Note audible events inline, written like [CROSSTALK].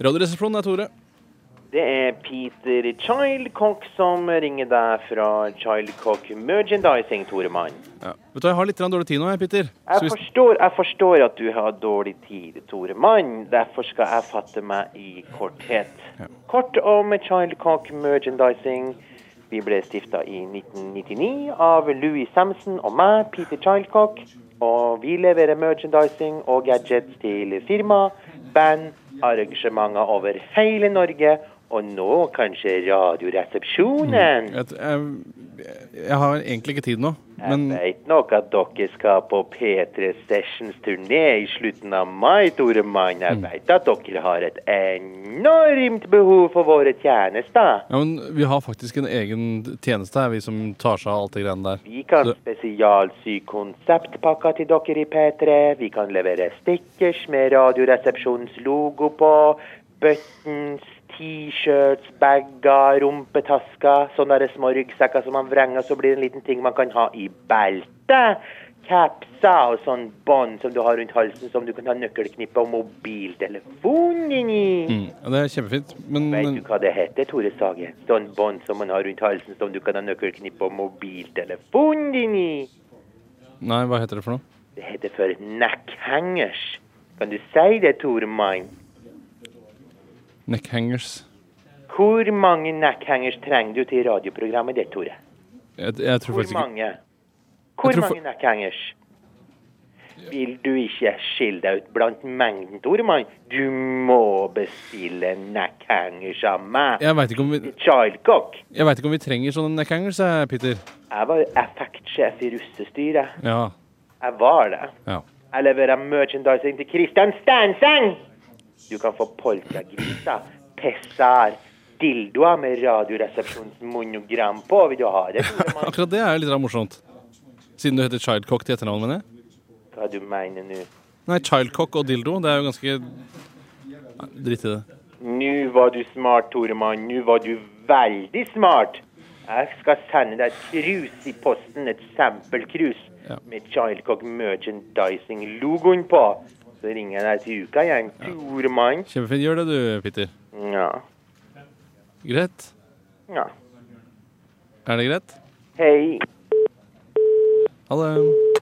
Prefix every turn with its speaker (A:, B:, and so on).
A: Radioresepsjonen er Tore.
B: Det er Peter Childcock som ringer deg fra Childcock Merchandising, Toremann.
A: Vet du, hva, Jeg har litt grann dårlig tid nå, jeg, Peter. Så
B: Jeg
A: hvis,
B: forstår, jeg forstår at du har dårlig tid, Toremann. Derfor skal jeg fatte meg i korthet. Kort om Childcock Merchandising. Vi ble stifta i 1999 av Louis Samson og meg, Peter Childcock. Og vi leverer merchandising og gadgets til firma, band, arrangementer over hele Norge. Og nå kanskje Radioresepsjonen.
A: jeg, jeg, jeg har egentlig ikke tid nå, men
B: Jeg veit nok at dere skal på P3 Sessions turné i slutten av mai, Tore Mann. Jeg veit at dere har et enormt behov for våre tjenester.
A: ja, men vi har faktisk en egen tjeneste her, vi som tar seg av alt det greiene der.
B: Vi kan
A: Du-
B: spesialsy konseptpakker til dere i P3. Vi kan levere stickers med Radioresepsjonens logo på. Buttons, T-shirts, bager, rumpetasker. Sånne der små ryggsekker som man vrenger, så blir det en liten ting man kan ha i beltet. Capser og sånn bånd som du har rundt halsen, som du kan ha nøkkelknippe og mobiltelefonen inn i.
A: Mm, ja, det er kjempefint, men,
B: Vet
A: men
B: du hva det heter, Tore Sagen? Sånn bånd som man har rundt halsen, som du kan ha nøkkelknippe og mobiltelefonen din i.
A: Nei, hva heter det for noe?
B: Det heter for neckhangers. Kan du si det, Tore Mann?
A: Neckhangers.
B: Hvor mange neckhangers trenger du til radioprogrammet ditt, Tore?
A: Jeg, jeg tror
B: Hvor
A: faktisk ikke
B: mange? Hvor
A: tror for-
B: mange neckhangers? Vil du ikke skille deg ut blant mengden, Tore Mann? Du må bestille neckhangers av meg.
A: Jeg veit ikke, om vi-
B: Childcock.
A: jeg vet ikke om vi trenger sånne neckhangers, jeg, Peter.
B: Jeg var effektsjef i russestyret.
A: Ja,
B: Jeg var det.
A: ja.
B: Jeg leverer merchandising til Kristian Stenseng! Du kan få polkagriser, pessar, dildoer med Radioresepsjonens monogram på. Vil du ha det? Tore
A: [LAUGHS]
B: Mann?
A: Akkurat det er jo litt grann morsomt. Siden du heter Childcock til etternavn, mener jeg.
B: Hva du mener nå?
A: Nei, Childcock og dildo, det er jo ganske Nei, Drit i det.
B: Nå var du smart, Toremann. Nå var du veldig smart. Jeg skal sende deg et krus i posten, et sampelkrus
A: Ja.
B: med Childcock Merchandising-logoen på. Så ringer jeg deg til uka igjen, Toremann.
A: Kjempefint. Gjør det du, Peter.
B: Ja.
A: Greit?
B: ja.
A: Er det greit?
B: Hei.
A: Ha det.